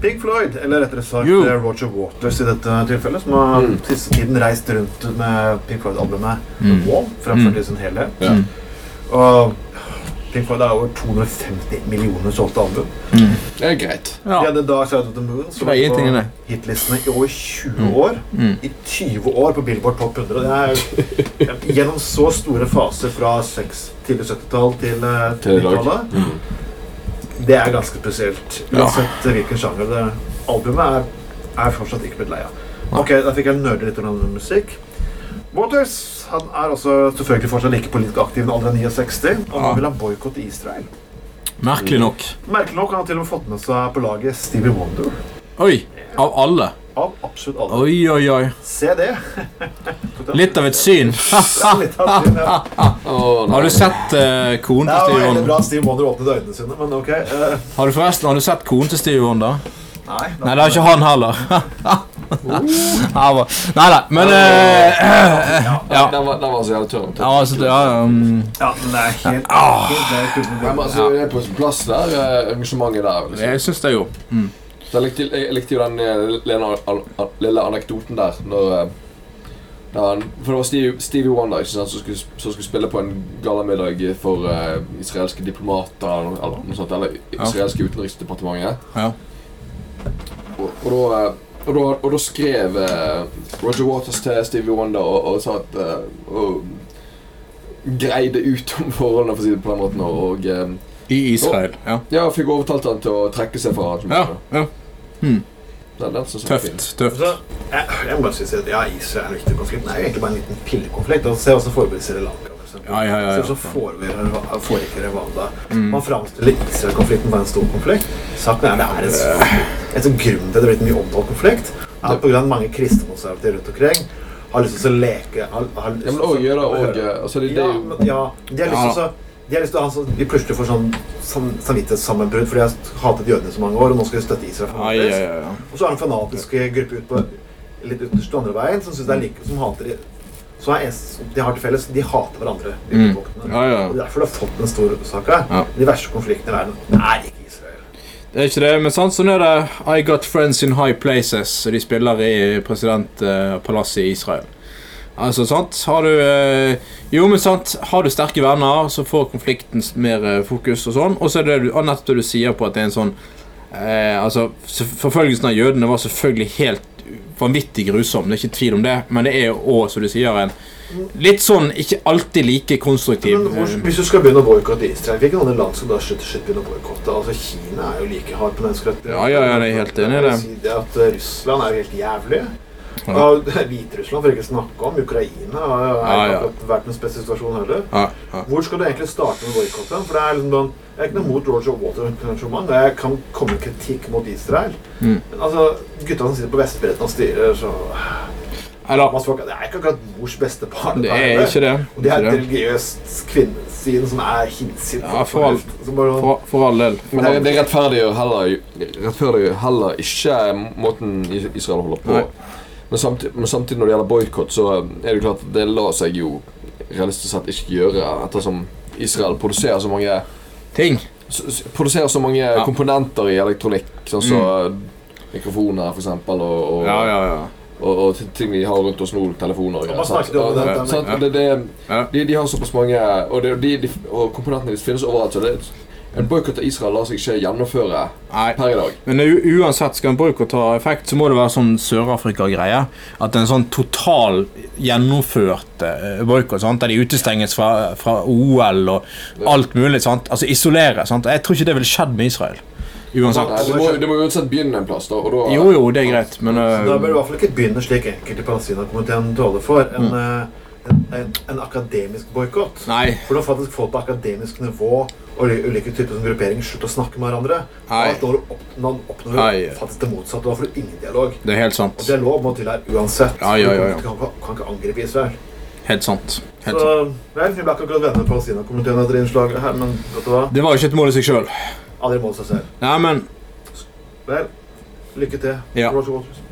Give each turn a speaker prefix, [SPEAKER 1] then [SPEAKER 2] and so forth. [SPEAKER 1] Pink Floyd, eller rettere sagt
[SPEAKER 2] You.
[SPEAKER 1] eh, Roger Waters i dette tilfellet, som har
[SPEAKER 3] Mm.
[SPEAKER 1] siste tiden reist rundt med Pink Floyd-albumet
[SPEAKER 2] Mm.
[SPEAKER 1] The Wall, fremført
[SPEAKER 2] Mm.
[SPEAKER 1] i sin helhet.
[SPEAKER 3] Ja.
[SPEAKER 2] Mm.
[SPEAKER 1] Og Pink Floyd har over 250 millioner solgte album.
[SPEAKER 2] Mm.
[SPEAKER 3] Det er greit.
[SPEAKER 1] De
[SPEAKER 2] Ja.
[SPEAKER 1] hadde Dark Side of the Moon, som
[SPEAKER 2] Det er
[SPEAKER 1] var
[SPEAKER 2] ingenting i
[SPEAKER 1] på
[SPEAKER 2] det.
[SPEAKER 1] hitlistene i over 20 år.
[SPEAKER 2] Mm.
[SPEAKER 1] I 20 år på Billboard Top 100. Det er jo- gjennom så store faser fra 6 tidlig 70-tall til eh,
[SPEAKER 3] Til i dag.
[SPEAKER 1] 90-tallet.
[SPEAKER 3] Mm.
[SPEAKER 1] Det er ganske spesielt.
[SPEAKER 2] Ja.
[SPEAKER 1] Uansett eh, hvilken sjanger det albumet er, er jeg fortsatt ikke blitt lei av.
[SPEAKER 2] Nei.
[SPEAKER 1] Ok, Da fikk jeg nerde litt om musikk. Waters han er også selvfølgelig fortsatt like politisk aktiv i den alderen 69, og nå
[SPEAKER 2] Ja.
[SPEAKER 1] vil han boikotte Israel.
[SPEAKER 2] Merkelig nok.
[SPEAKER 1] Merkelig nok har han til og med fått med seg på laget Stevie Wonder.
[SPEAKER 2] Oi! Av alle.
[SPEAKER 1] Av absolutt alle.
[SPEAKER 2] Oi, oi, oi.
[SPEAKER 1] Se det!
[SPEAKER 2] Litt av et syn.
[SPEAKER 1] Ja, litt av sin, ja.
[SPEAKER 3] Å, nei.
[SPEAKER 2] Har du sett eh, konen
[SPEAKER 1] Det
[SPEAKER 2] til
[SPEAKER 1] er jo
[SPEAKER 2] Stevie
[SPEAKER 1] veldig
[SPEAKER 2] Wonder?
[SPEAKER 1] bra at Stevie Wonder åpnet øynene sine, men ok. eh,
[SPEAKER 2] Har du forresten har du sett konen til Stevie Wonder?
[SPEAKER 1] nei,
[SPEAKER 2] Nei, det har ikke han heller. Nei da, men eh,
[SPEAKER 1] Ja,
[SPEAKER 2] Ja.
[SPEAKER 3] Den, var, den var så jævlig tørr.
[SPEAKER 2] Ja, altså, ja, um,
[SPEAKER 1] ja, men det er helt,
[SPEAKER 2] Ah.
[SPEAKER 1] helt det kunne
[SPEAKER 3] Nei, men
[SPEAKER 1] vært.
[SPEAKER 3] altså, det er på sin plass der, eh, arrangementet der. Liksom.
[SPEAKER 2] jeg syns det, jo.
[SPEAKER 3] Så jeg, likte, jeg likte jo den eh, lille, an- an- lille anekdoten der. Når, eh, da han, for det var Stevie, Stevie Wonder ikke sant, som, skulle, som skulle spille på en gallamiddag for eh, israelske diplomater eller noe, eller noe sånt. Eller israelske utenriksdepartementet.
[SPEAKER 2] Ja.
[SPEAKER 3] Og, og, da, eh, og, da, og da skrev eh, Roger Waters til Stevie Wonder og, og sa at eh, og, Greide ut om forholdene, for å si det på den måten. Og, og eh,
[SPEAKER 2] I Israel. Ja.
[SPEAKER 3] ja, fikk overtalt han til å trekke seg fra
[SPEAKER 2] ja,
[SPEAKER 3] arrangementet.
[SPEAKER 2] ja.
[SPEAKER 3] Den, den synes jeg var fin.
[SPEAKER 2] Tøft. tøft.
[SPEAKER 1] Så, jeg, jeg må bare si at ja, Israel er en viktig konflikt. men Det er jo egentlig bare en liten pillekonflikt. Og se hva som foregår i Sri Lanka. for eksempel.
[SPEAKER 2] Ja, ja, ja, ja. Mm.
[SPEAKER 1] Se hva som foregår- foregår i Rwanda. Man framstiller Israel-konflikten som en stor konflikt. Saken er det er en stor
[SPEAKER 2] Øh.
[SPEAKER 1] En sånn grunn til at det er blitt en mye omtalt konflikt, er at på grunn av at mange kristenkonservative rundt omkring har lyst til å leke har, har lyst
[SPEAKER 3] Ja, men
[SPEAKER 1] til å-
[SPEAKER 3] også jøder og eh, altså, det, det er
[SPEAKER 1] Ja,
[SPEAKER 3] jo
[SPEAKER 1] men, ja. De har lyst til å så- de har lyst til å ha sånn De plutselig får sånn sam- samvittighetssammenbrudd fordi de har hatet jødene i så mange år, og nå skal de støtte Israel. for
[SPEAKER 2] Ai,
[SPEAKER 1] noe pris.
[SPEAKER 2] ai, ai, ai.
[SPEAKER 1] Og så er det en fanatisk gruppe ut på litt ytterst andre veien som synes det er like, som hater de. Så er eneste som de har til felles, de hater hverandre. de
[SPEAKER 2] Mm.
[SPEAKER 1] folkene.
[SPEAKER 2] Ja, ja.
[SPEAKER 1] Og det er derfor det har fått den store sak her.
[SPEAKER 2] Ja.
[SPEAKER 1] De verste konfliktene i verden det er ikke Israel.
[SPEAKER 2] Det er ikke det, men sant, sånn er det. I Got Friends in High Places, og de spiller i presidentpalasset i Israel. Altså, sant? Har du eh, Jo, men sant, har du sterke venner, så får konflikten s- mer eh, fokus og sånn. Og så er det du, og nettopp det du sier på at det er en sånn eh, Altså, s- forfølgelsen av jødene var selvfølgelig helt vanvittig grusom, det er ikke tvil om det, men det er jo òg, som du sier, en litt sånn ikke alltid like konstruktiv
[SPEAKER 1] Men hvor,
[SPEAKER 2] eh,
[SPEAKER 1] hvis du skal begynne å boikotte Israel, hvilke andre land skal da slutte slutte begynne å boikotte? Altså, Kina er jo like hard på menneskerettigheter.
[SPEAKER 2] Ja, ja, ja, jeg er helt enig i det.
[SPEAKER 1] Jeg vil si det at eh, Russland er jo helt jævlig.
[SPEAKER 2] Ja.
[SPEAKER 1] Og Hviterussland for ikke å snakke om. Ukraina har jo
[SPEAKER 2] Ja, ja.
[SPEAKER 1] akkurat vært en spesiell situasjon heller.
[SPEAKER 2] ja, ja.
[SPEAKER 1] Hvor skal du egentlig starte med boikotten? For det er liksom sånn, Jeg er ikke noe mot Roger Water-engasjement. Det kan komme kritikk mot Israel.
[SPEAKER 2] Mm.
[SPEAKER 1] Men altså, gutta som sitter på Vestbredden og styrer, så
[SPEAKER 2] Eller
[SPEAKER 1] Man skal- Det er ikke akkurat mors beste barn.
[SPEAKER 2] Det er ikke det.
[SPEAKER 1] Og det er et
[SPEAKER 2] Ikke det.
[SPEAKER 1] religiøst kvinnesyn som er hinsides.
[SPEAKER 2] Ja, for all-
[SPEAKER 1] Som bare sånn-
[SPEAKER 2] For, for all del.
[SPEAKER 3] Men det, det rettferdiggjør heller, rettferdiggjør heller ikke måten Is- Israel holder på.
[SPEAKER 2] Nei.
[SPEAKER 3] Men samtidig, men samtidig når det gjelder boikott, så eh, er det jo klart at det lar seg jo realistisk sett ikke gjøre, ettersom Israel produserer så mange,
[SPEAKER 2] Ting.
[SPEAKER 3] s- s- produserer så mange komponenter i elektronikk, sånn som mikrofoner for eksempel, og, og,
[SPEAKER 2] Ja, ja, ja.
[SPEAKER 3] og, og t- ting vi har rundt oss nå, telefoner og
[SPEAKER 1] Og man snakket jo om
[SPEAKER 3] sant?
[SPEAKER 1] det,
[SPEAKER 3] Ja, sant?
[SPEAKER 2] ja.
[SPEAKER 3] Det, det,
[SPEAKER 2] Ja.
[SPEAKER 3] de, de har såpass mange Og, det, de, de, og komponentene deres finnes overalt. Så det, en boikott av Israel lar seg ikke gjennomføre
[SPEAKER 2] Nei.
[SPEAKER 3] per i dag.
[SPEAKER 2] Men u- uansett skal en boikott ha effekt, så må det være sånn Sør-Afrika-greie. At det er en sånn total gjennomført eh, boikott, sant, der de utestenges fra, fra OL og alt mulig. sant, Altså isolere. sant, Jeg tror ikke det ville skjedd med Israel.
[SPEAKER 3] Nei,
[SPEAKER 2] Uansett.
[SPEAKER 3] det, må, det må uansett begynne en plass, da. Og da
[SPEAKER 2] Jo, jo, det er greit, men
[SPEAKER 1] Så Da bør
[SPEAKER 2] eh,
[SPEAKER 1] det i hvert fall ikke begynne slik enkelte Palestina-komiteen tåler for.
[SPEAKER 2] Mm.
[SPEAKER 1] En, eh, en, en, en akademisk boikott.
[SPEAKER 2] Nei.
[SPEAKER 1] Hvordan faktisk folk på akademisk nivå og i ulike typer som grupperinger slutter å snakke med hverandre.
[SPEAKER 2] Nei.
[SPEAKER 1] Da oppnår, oppnår, oppnår
[SPEAKER 2] Nei.
[SPEAKER 1] faktisk det motsatte. Da får du ingen dialog.
[SPEAKER 2] Det er helt sant.
[SPEAKER 1] Og dialog må til her uansett.
[SPEAKER 2] Ja, ja, ja, ja.
[SPEAKER 1] Du kan, ikke- kan ikke angripe Israel.
[SPEAKER 2] Helt sant. Helt sant.
[SPEAKER 1] Så vel, vi ble ikke akkurat venner med Palestina-komiteen etter innslaget her, men vet du hva?
[SPEAKER 2] Det var jo ikke et mål i seg sjøl.
[SPEAKER 1] Aldri mål seg selv.
[SPEAKER 2] Nei, men
[SPEAKER 1] Vel, lykke til.
[SPEAKER 2] Ja.
[SPEAKER 1] Roger Waters.